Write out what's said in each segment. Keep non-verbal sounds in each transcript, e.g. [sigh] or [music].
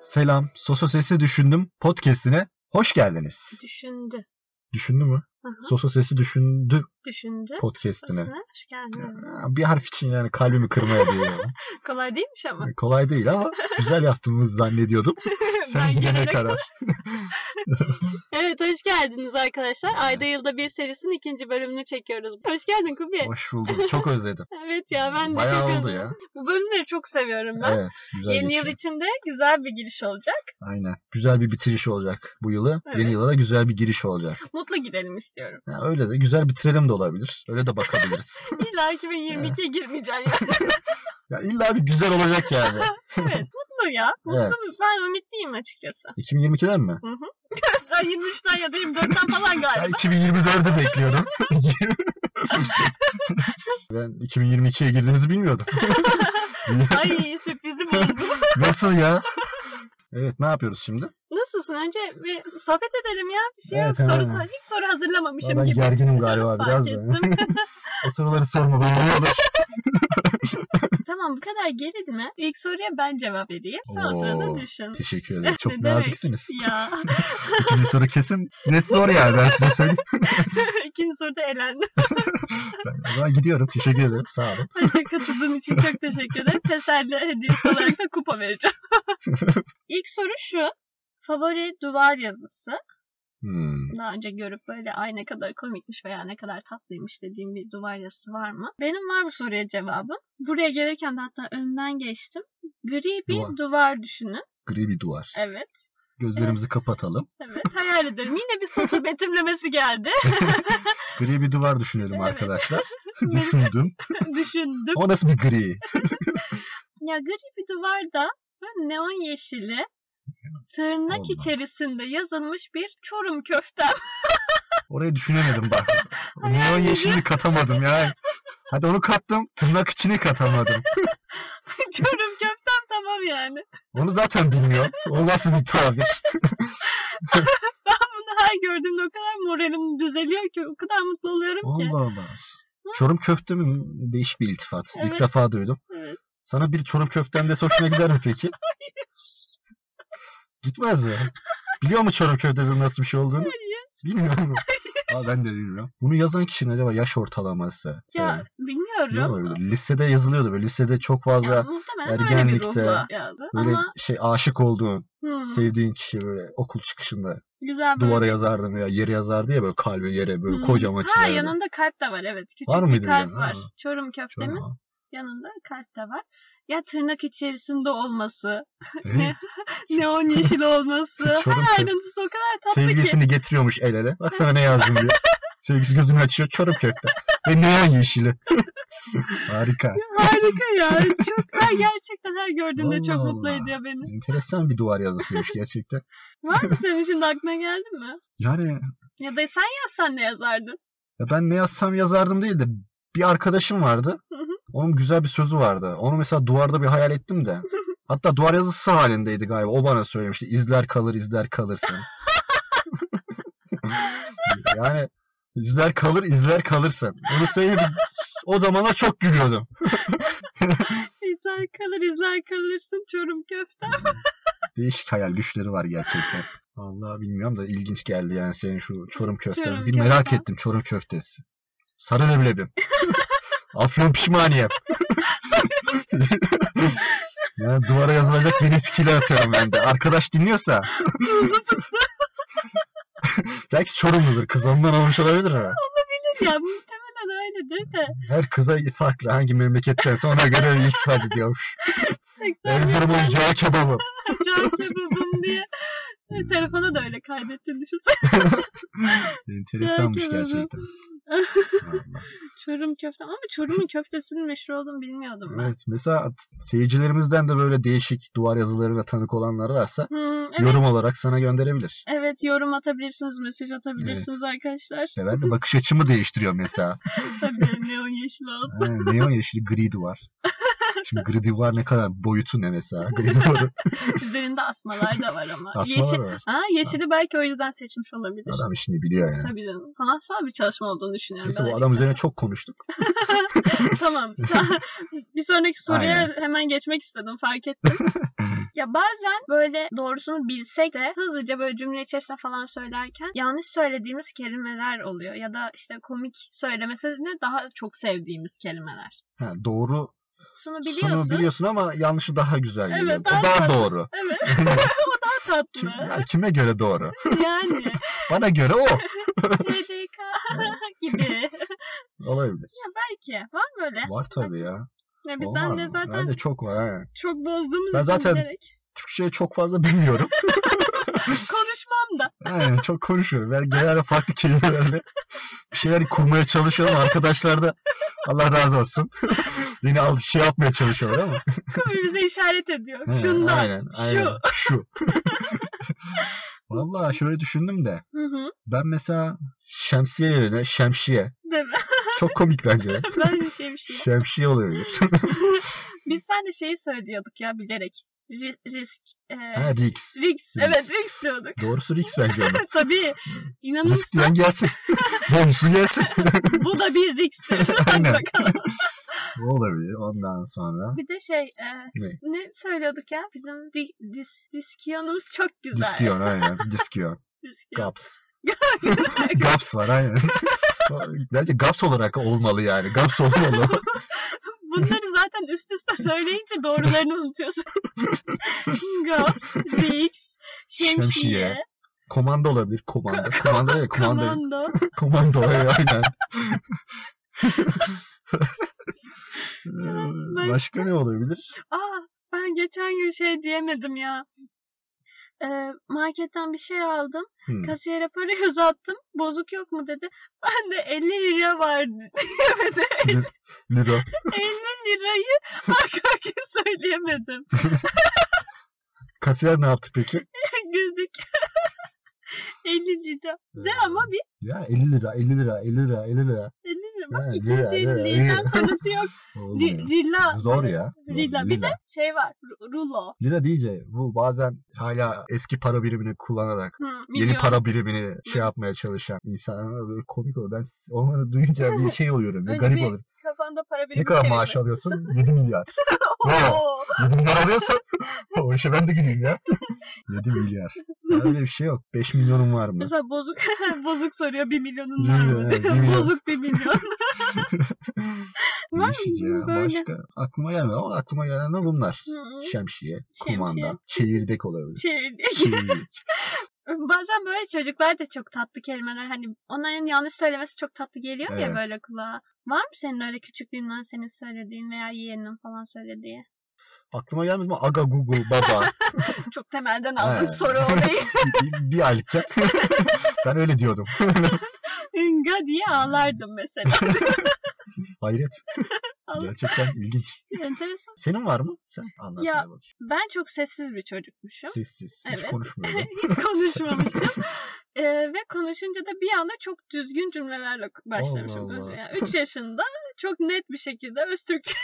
Selam. Soso Sesi Düşündüm podcastine hoş geldiniz. Düşündü. Düşündü mü? Aha, Soso Sesi Düşündü düşündü. podcastine. Başına hoş geldin. Ya, Bir harf için yani kalbimi kırmaya diye. Kolay değilmiş ama. Kolay değil ama güzel yaptığımızı zannediyordum. Sen [laughs] Ben gene gelerek- karar. Evet hoş geldiniz arkadaşlar. Ayda Yılda Bir serisinin ikinci bölümünü çekiyoruz. Hoş geldin Kubi. Hoş buldum. Çok özledim. Evet [laughs] ya ben de Bayağı çok oldu özledim. ya. Bu bölümleri çok seviyorum ben. Evet. Güzel Yeni geçiyor. yıl içinde güzel bir giriş olacak. Aynen. Güzel bir bitiriş olacak bu yılı. Yeni Evet. yıla da güzel bir giriş olacak. Mutlu girelim istiyorum. Ya öyle de güzel bitirelim de olabilir. Öyle de [laughs] bakabiliriz. İlla 2022'ye girmeyeceksin ya. [laughs] ya illa bir güzel olacak yani. evet mutlu ya. Evet. Mutluyuz. Ben ümitliyim açıkçası. 2022'den mi? Sen 23'ten ya da 24'ten falan Ben galiba. 2024'ü bekliyorum. [laughs] ben 2022'ye girdiğimizi [laughs] bilmiyordum. Ay sürprizim oldu. Nasıl ya? Evet ne yapıyoruz şimdi? Nasılsın? Önce bir sohbet edelim ya. Bir şey Evet, yok. hemen. Soru, sor- hiç soru hazırlamamışım ben gibi. gerginim galiba Fark biraz da. ettim. [laughs] o soruları sorma bana ne olur. [laughs] tamam bu kadar gerilme. İlk soruya ben cevap vereyim. Sen o Oo. sırada düşün. Teşekkür ederim. Çok Ne demek? naziksiniz. [laughs] ya İkinci soru kesin net zor yani ben size söyleyeyim. ikinci soruda elendim. [laughs] O zaman gidiyorum. Teşekkür ederim. Sağ olun. Ayrıca katıldığın için çok teşekkür ederim. Teselli hediyesi olarak da [laughs] kupa vereceğim. İlk soru şu. Favori duvar yazısı. Hmm. Daha önce görüp böyle ay ne kadar komikmiş veya ne kadar tatlıymış dediğim bir duvar yazısı var mı? Benim var bu soruya cevabım. Buraya gelirken de hatta önünden geçtim. Gri bir Duvar. duvar, düşünün. Gri bir duvar. Evet. Gözlerimizi kapatalım. Evet. Hayal ederim. Yine bir sosu betimlemesi geldi. [laughs] Gri bir duvar düşünelim Evet. [laughs] arkadaşlar. Düşündüm. Düşündüm. O nasıl bir gri? Ya gri bir duvarda böyle neon yeşili tırnak Olmaz. içerisinde yazılmış bir çorum köfte. Orayı düşünemedim bak. [laughs] Hayal Neon gücü. yeşili katamadım ya. Hadi onu kattım. Tırnak içini katamadım. [laughs] çorum köftem tamam yani. Onu zaten bilmiyorum. O nasıl bir tabir? Bunu her gördüğümde o kadar moralim düzeliyor ki o kadar mutlu oluyorum ki. Allah Allah. Çorum köfte mi? Değişik bir iltifat. İlk Evet. defa duydum. Evet. Sana bir çorum köften dese hoşuna gider mi peki? Gitmez mi? Biliyor mu çorum köftenin nasıl bir şey olduğunu? Bilmiyor mu? Aa, ben de bilmiyorum. Bunu yazan kişinin acaba yaş ortalaması? Ya falan, biliyor bilmiyorum. musun? Lisede yazılıyordu böyle. Lisede çok fazla Ya, muhtemelen öyle bir ergenlikte ruhla yazdı. böyle Ama şey aşık olduğun hı, sevdiğin kişi böyle okul çıkışında güzel böyle. duvara yazardım ya yere yazardı ya böyle kalbe yere böyle Hı. kocaman Ha çizerdi. yanında kalp de var evet. Küçük Var bir mıydı bir kalp de? var. Ha. Çorum köftemin [laughs] Sonra- yanında kalp de var. Ya tırnak içerisinde olması, [laughs] Evet, neon yeşil olması, [laughs] Çorum her köfte. ayrıntısı o kadar tatlı ki. Sevgilisini getiriyormuş el ele. Bak sana ne yazdım diye. Sevgilisi gözünü açıyor çorum köfte. Ve neon yeşili. [laughs] [laughs] Harika. Harika ya. Çok, [laughs] her gerçekten her gördüğümde çok Allah mutlu Allah. ediyor beni. Enteresan bir duvar yazısıymış gerçekten. Var mı senin şimdi aklına geldi mi? Yani Ya da sen yazsan ne yazardın? ya ben ne yazsam yazardım değil de bir arkadaşım vardı. Hı hı. Onun güzel bir sözü vardı. Onu mesela duvarda bir hayal ettim [laughs] de. Hatta duvar yazısı halindeydi galiba. O bana söylemişti. İzler kalır, izler [laughs] kalırsın. yani izler kalır, izler kalırsın. Onu söyleyip o zamanlar çok gülüyordum. İzler kalır izler kalırsın çorum köfte. Değişik hayal güçleri var gerçekten. Vallahi bilmiyorum da ilginç geldi yani senin şu çorum köften. Çorum bir merak köften. ettim çorum köftesi. Sarı leblebim. Afyon pişmaniyem. yani duvara yazılacak yeni fikirler atıyorum ben de. Arkadaş dinliyorsa. Belki çorumludur. Kız ondan olmuş olabilir ama. ya muhtemelen öyledir de. Her kıza farklı. Hangi memlekettense ona göre iltifat ediyormuş. 80 Erzurum'un cağ kebabı. [laughs] can kebabım diye. Ve telefona da öyle kaydettin düşünsene. Enteresanmış Cağ kebabı. gerçekten. Vallahi. Çorum köfte ama Çorum'un köftesinin meşhur olduğunu bilmiyordum ben. Evet mesela t- seyircilerimizden de böyle değişik duvar yazılarına tanık olanlar varsa Hmm, evet. yorum olarak sana gönderebilir. Evet yorum atabilirsiniz, mesaj atabilirsiniz arkadaşlar. İşte ben de bakış açımı değiştiriyor mesela. Tabii neon yeşil olsun. Ha, neon yeşili gri [laughs] duvar. Şimdi gri duvar ne kadar boyutu ne mesela? Gri [laughs] duvarı Üzerinde asmalar da var ama. asmalar Yeşil... var. Ha, yeşili belki o yüzden seçmiş olabilir. Adam işini biliyor yani. Tabii canım. Sanatsal bir çalışma olduğunu düşünüyorum Neyse ben bu adam üzerine çok konuştuk. [laughs] açıkçası. tamam. [laughs] bir sonraki soruya Aynen. [laughs] hemen geçmek istedim fark ettim. Ya bazen böyle doğrusunu bilsek de hızlıca böyle cümle içerisinde falan söylerken yanlış söylediğimiz kelimeler oluyor. Ya da işte komik söylemesini daha çok sevdiğimiz kelimeler. Ha, doğru Sunu biliyorsun. biliyorsun. biliyorsun ama yanlışı daha güzel Evet, geliyor. daha o daha tatlı. doğru. Evet. o daha Kim, tatlı. ya kime göre doğru? [laughs] yani Bana göre o. TDK gibi. [laughs] Olabilir. Belki. Var mı öyle? Var tabii ya. Ya biz Olmaz sen de mı? zaten Ben de çok var ha. çok bozduğumuz Ben için zaten- bilerek Türkçe'yi çok fazla [laughs] bilmiyorum. konuşmam da. Aynen çok konuşuyorum. Ben genelde farklı kelimelerle bir şeyler kurmaya çalışıyorum. Arkadaşlar da Allah razı olsun. [laughs] Yine al şey yapmaya çalışıyorlar ama. Tabii bize işaret ediyor. He, [laughs] Şundan. aynen, aynen. Şu. Şu. Vallahi şöyle düşündüm de. Hı hı. Ben mesela şemsiye yerine şemşiye. Değil mi? Çok komik bence. [laughs] ben de şey bir şey. şemşiye oluyor. Biz sen de şeyi söylüyorduk ya bilerek. Ri- risk. E, Ha Rix. Risk. Evet [laughs] risk diyorduk. Doğrusu Rix bence [laughs] onun. Tabii. İnanın Risk diyen gelsin. [laughs] Bonusu gelsin. bu da [laughs] bir risktir. Hadi Aynen. bakalım. O olabilir ondan sonra. Bir de şey e, Ne? ne söylüyorduk ya? Bizim di, dis, diskiyonumuz çok güzel. Diskiyon aynen. Diskiyon. Diskiyon. Gaps. Gaps var aynen. Bence gaps olarak olmalı yani. Gaps olmalı. [laughs] [laughs] Bunları zaten üst üste söyleyince doğrularını unutuyorsun. [laughs] Bingo, Rix, şemsiye, Şemsiye, Komando olabilir. Komando. Komando ya komando. komando. Komando ya [laughs] aynen. Ee, Başka ne olabilir? Aa, ben geçen gün şey diyemedim ya. Ee, marketten bir şey aldım. Hmm. Kasiyere parayı [laughs] uzattım. Bozuk yok mu dedi. Ben de 50 lira vardı [laughs] diyemedim. Lira. 50 lirayı arka arkaya [laughs] söyleyemedim. Kasiyer ne yaptı peki? Güldük. [laughs] 50 lira. De ama bir Ee, Ya 50 lira, 50 lira, 50 lira, 50 lira. 50 lira. Ha, Bak lira, ikinci lira, liriden lira. sonrası yok. Ri- Olmuyor. Rilla. Zor ya. Rilla. Bir de şey var. ru- Rulo. Lira deyince bu bazen hala eski para birimini kullanarak Hı, yeni Hmm, milyon. para birimini şey yapmaya çalışan insanlar böyle komik oluyor. Ben s- onları duyunca [laughs] bir şey oluyorum. Bir Önce garip bir şey oluyor. Kafanda para birimi Ne kadar maaş çevirme. alıyorsun? 7 milyar. Ha, [laughs] Oo. 7 [laughs] milyar alıyorsan [laughs] o işe ben de gideyim ya. 7 milyar. Öyle bir şey yok. 5 milyonum var mı? Mesela bozuk [laughs] bozuk soruyor bir milyonun Bir var milyon, mı? evet, bir milyon. [laughs] bozuk [laughs] bir milyon. var Değişik mı ya. böyle? Hmm, Başka aklıma gelmiyor ama aklıma gelenler bunlar. Şemsiye, kumanda, çekirdek [laughs] olabilir. Şey, Çekirdek. bazen böyle çocuklar da çok tatlı kelimeler hani onların yanlış söylemesi çok tatlı geliyor ya Evet. böyle kulağa. Var mı senin öyle küçüklüğünden senin söylediğin veya yeğeninin falan söylediği? [laughs] Aklıma gelmedi mi? Aga gugu baba. Çok temelden Evet. aldık soru [laughs] olayı. bir, bir [laughs] aylıkken. [laughs] ben öyle diyordum. Ünga diye ağlardım [laughs] mesela. Hayret. Ama Gerçekten ilginç. Enteresan. Senin var mı? Sen anlat. Ya- bana bakayım. Ben çok sessiz [laughs] bir çocukmuşum. Sessiz. Hiç Evet. konuşmuyorum. [laughs] Hiç konuşmamışım. [laughs] Ee, ve konuşunca da bir anda çok düzgün cümlelerle başlamışım. Allah Allah. 3 yaşında çok net bir şekilde [laughs] Öztürk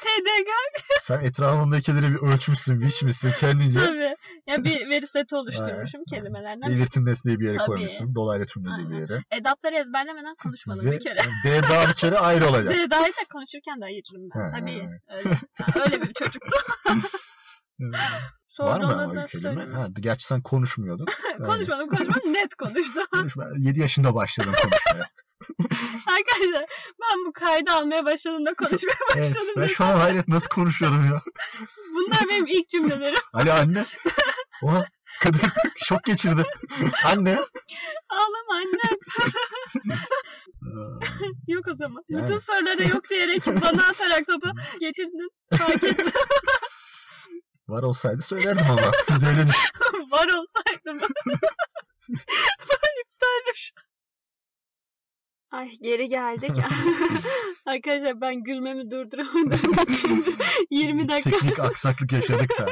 TDK Sen etrafındakileri bir ölçmüşsün, biçmişsin kendince. tabii. Ya bir [laughs] veri seti oluşturmuşum kelimelerden. Belirtim nesneyi bir yere Tabii. koymuşsun. Dolaylı tümleri bir Aynen. yere. Edapları ezberlemeden konuşmadım Ve [laughs] bir kere. D daha bir kere ayrı [laughs] olacak. Deda'yı da konuşurken de ayırırım ben. Ha, Tabii. ha, Öyle, yani öyle bir çocuktu. Ee, [laughs] var Sonra mı ona ama da kelime? söyle- Ha, gerçi sen konuşmuyordun. Yani [laughs] Konuşmadım konuşmadım net konuştum. [laughs] konuşma, 7 yaşında başladım konuşmaya. Arkadaşlar ben bu kaydı almaya başladığımda konuşmaya [laughs] evet, başladım. ben ve şu an hayret nasıl konuşuyorum ya. [laughs] Bunlar benim ilk cümlelerim. [laughs] Ali anne. Oha kadın şok geçirdi. anne. [laughs] Ağlama annem. [laughs] Ee, Yok o zaman. Yani. Bütün sorulara yok diyerek bana [laughs] atarak topu geçirdin. Fark ettim. Var olsaydı söylerdim ama. Bir de [laughs] öyle düşün. [laughs] Var olsaydım. İptalmiş. Ay [laughs] geri geldik. Arkadaşlar ben [laughs] gülmemi durduramadım. Şimdi 20 dakika Teknik aksaklık yaşadık da.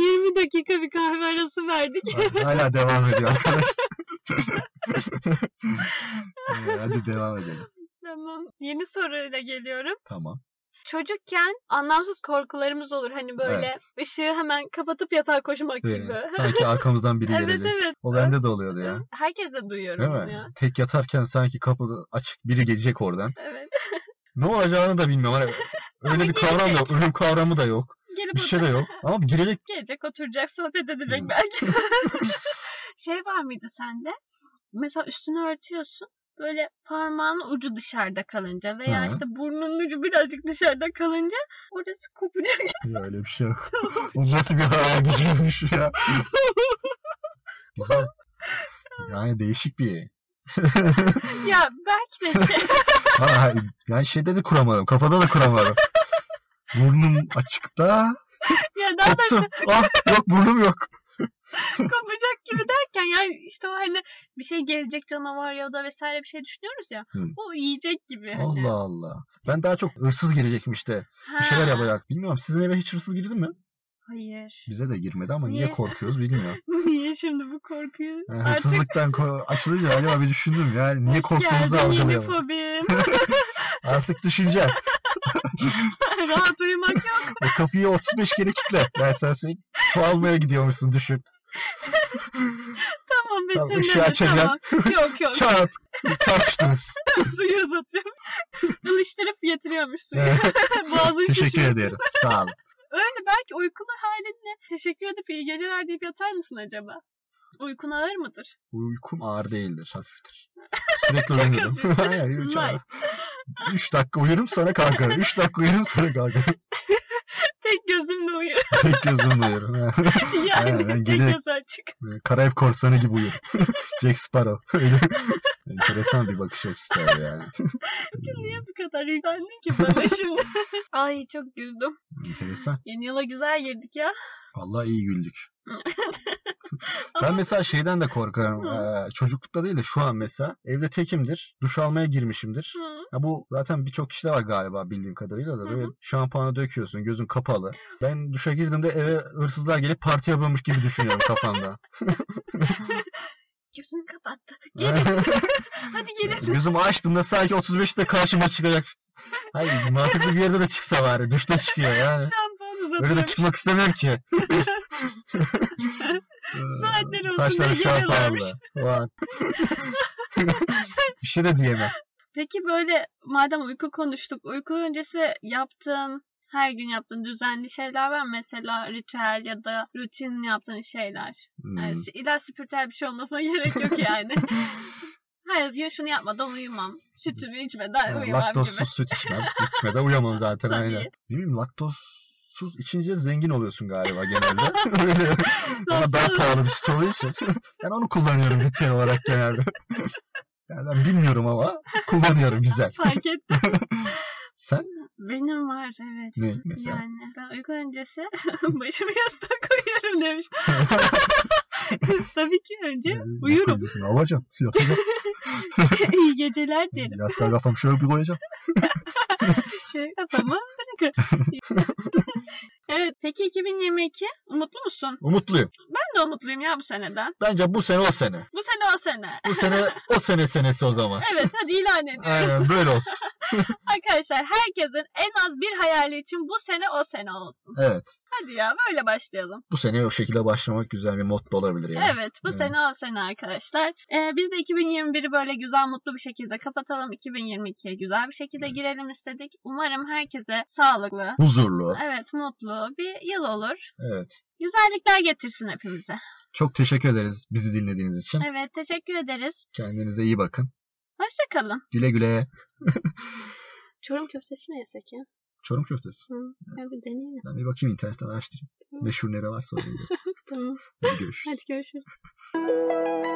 20 dakika bir kahve arası verdik. Hala devam ediyor [laughs] arkadaş. Ee, Hadi devam edelim. Tamam. Yeni soruyla geliyorum. Tamam. Çocukken anlamsız korkularımız olur. Hani böyle ışığı hemen kapatıp yatağa koşmak Ee, gibi. sanki arkamızdan biri [laughs] evet gelecek. evet. O bende de oluyordu ya. Herkes de duyuyorum Değil bunu mi? ya. Tek yatarken sanki kapı açık biri gelecek oradan. Evet. Ne olacağını da bilmiyorum. Hani Ama Öyle bir kavram da yok. Ölüm kavramı da yok. gelip Bir şey de yok. Ama girecek gelecek, oturacak, sohbet edecek Hmm. [laughs] belki. şey var mıydı sende? Mesela üstünü örtüyorsun. Böyle parmağın ucu dışarıda kalınca veya Hı. işte burnunun ucu birazcık dışarıda kalınca orası kopacak. ya öyle bir şey yok. O nasıl bir hayal gücüymüş [laughs] ya. Güzel. Yani değişik bir Hmm. ya belki de şey. Ha, yani şeyde de kuramadım. Kafada da kuramadım. Burnum açıkta. ya nereden Koptu. Ah yok burnum yok. kopacak gibi derken yani işte o hani bir şey gelecek canavar ya da vesaire bir şey düşünüyoruz ya. Hı. O yiyecek gibi. hani. Allah Allah. Ben daha çok hırsız gelecekmiş de. Bir şeyler Ha, yapacak. Bilmiyorum sizin eve hiç hırsız girdi mi? Hayır. Bize de girmedi ama niye Niye? korkuyoruz bilmiyorum. [laughs] Niye şimdi bu korkuyu? Yani Artık hırsızlıktan ko- açılınca acaba bir düşündüm yani Ee, niye hoş korktuğumuzu geldin yeni algılayalım. fobim. [laughs] Artık düşünce. Rahat uyumak yok. E, kapıyı 35 kere kilitle. Ben sana söyleyeyim. Su almaya gidiyormuşsun düşün. Tamam Tamam, bitirmedi. ışığı açacağım. Tamam. [laughs] Yok yok. Çat. Çarpıştınız. suyu uzatıyorum. [laughs] Ilıştırıp getiriyormuş suyu. Evet, [laughs] Boğazın Teşekkür şişmesi. ederim. Sağ olun. Öyle belki uykulu halinle teşekkür edip iyi geceler deyip yatar mısın acaba? Uykun ağır mıdır? [laughs] Uykum ağır değildir. Hafiftir. Sürekli uyanırım. [laughs] hafif. Hayır, hiç Light. ağır. Üç dakika uyurum sonra kalkarım. Üç dakika uyurum sonra kalkarım. [laughs] Tek gözümle uyuyorum. [laughs] Tek gözümle uyurum. yani ben tek gece- göz açık. Böyle Karayip korsanı gibi uyur. [laughs] Jack Sparrow. [laughs] Öyle. Enteresan bir bakış açısı tabii yani. Niye bu kadar yüklendin ki [laughs] bana şimdi? [laughs] Ay çok güldüm. Enteresan. Yeni yıla güzel girdik ya. Vallahi iyi güldük. ben Ama- mesela şeyden de korkarım. Hı. Ee, çocuklukta değil de şu an mesela. Evde tekimdir. Duş almaya girmişimdir. Hı. Ya bu zaten birçok kişide var galiba bildiğim kadarıyla da. Hı Böyle hı. şampuanı döküyorsun gözün kapalı. Ben duşa girdiğimde eve hırsızlar gelip parti yapıyormuş gibi düşünüyorum [laughs] kafamda. Gözünü kapattı. Gelin. Hadi [laughs] gelin. Gözümü açtığımda sanki 35'te karşıma çıkacak. Hayır mantıklı bir yerde de çıksa bari. Duşta çıkıyor yani. Şampuan Öyle de uzatıyorum. çıkmak istemiyorum [laughs] ki. Saatleri olsun Saçları diye şampuanlı. geliyorlarmış. [laughs] Ulan. bir şey de diyemem. Peki böyle madem uyku konuştuk, uyku öncesi yaptığın, her gün yaptığın düzenli şeyler var mı? Mesela ritüel ya da rutin yaptığın şeyler. Hmm. Yani işte ilaç spiritüel bir şey olmasına [laughs] gerek [laughs] yok yani. Hayır gün şunu yapmadan uyumam. Sütümü içmeden Yani uyumam gibi. Hani laktozsuz süt içmem. İçmede uyamam zaten Tabii. aynen. Ne bileyim laktozsuz içince zengin oluyorsun galiba genelde. [laughs] Öyle. Ama daha Laktozsuz. pahalı bir süt olduğu için. Ben onu kullanıyorum ritüel olarak genelde. [laughs] Yani ben bilmiyorum ama kullanıyorum güzel. [laughs] Fark ettim. Sen Benim var evet. ne mesela? Yani ben uyku öncesi [laughs] başımı yastığa koyuyorum demiş. [laughs] [laughs] Tabii ki önce e, Ne uyurum. [laughs] koyuyorsun? Ne yapacağım? Yatacağım. İyi geceler derim. Yastığa kafamı şöyle bir koyacağım. Şey kafamı [laughs] bırakır. evet peki 2022 umutlu musun? Umutluyum. Ben de umutluyum ya bu seneden. Bence bu sene o sene. Bu sene o sene. Bu sene o sene senesi o zaman. Evet hadi ilan ediyorum. Aynen böyle olsun. Arkadaşlar herkesin en az bir hayali için bu sene o sene olsun. Evet. Hadi ya böyle başlayalım. Bu sene o şekilde başlamak güzel bir mod da olabilir yani. Evet bu Evet. sene o sene arkadaşlar. Ee, biz de 2021'i böyle güzel mutlu bir şekilde kapatalım. 2022'ye güzel bir şekilde Evet. girelim istedik. Umarım herkese sağlıklı, Huzurlu. evet mutlu bir yıl olur. Evet. Güzellikler getirsin hepimize. Çok teşekkür ederiz bizi dinlediğiniz için. Evet teşekkür ederiz. Kendinize iyi bakın. Hoşça kalın. Güle güle. Çorum köftesi mi yesek ya? Çorum köftesi. Hı, ya bir deneyelim. Ben bir bakayım internetten araştırayım. Meşhur nere varsa oraya gidelim. Tamam. Hadi görüşürüz. Hadi görüşürüz.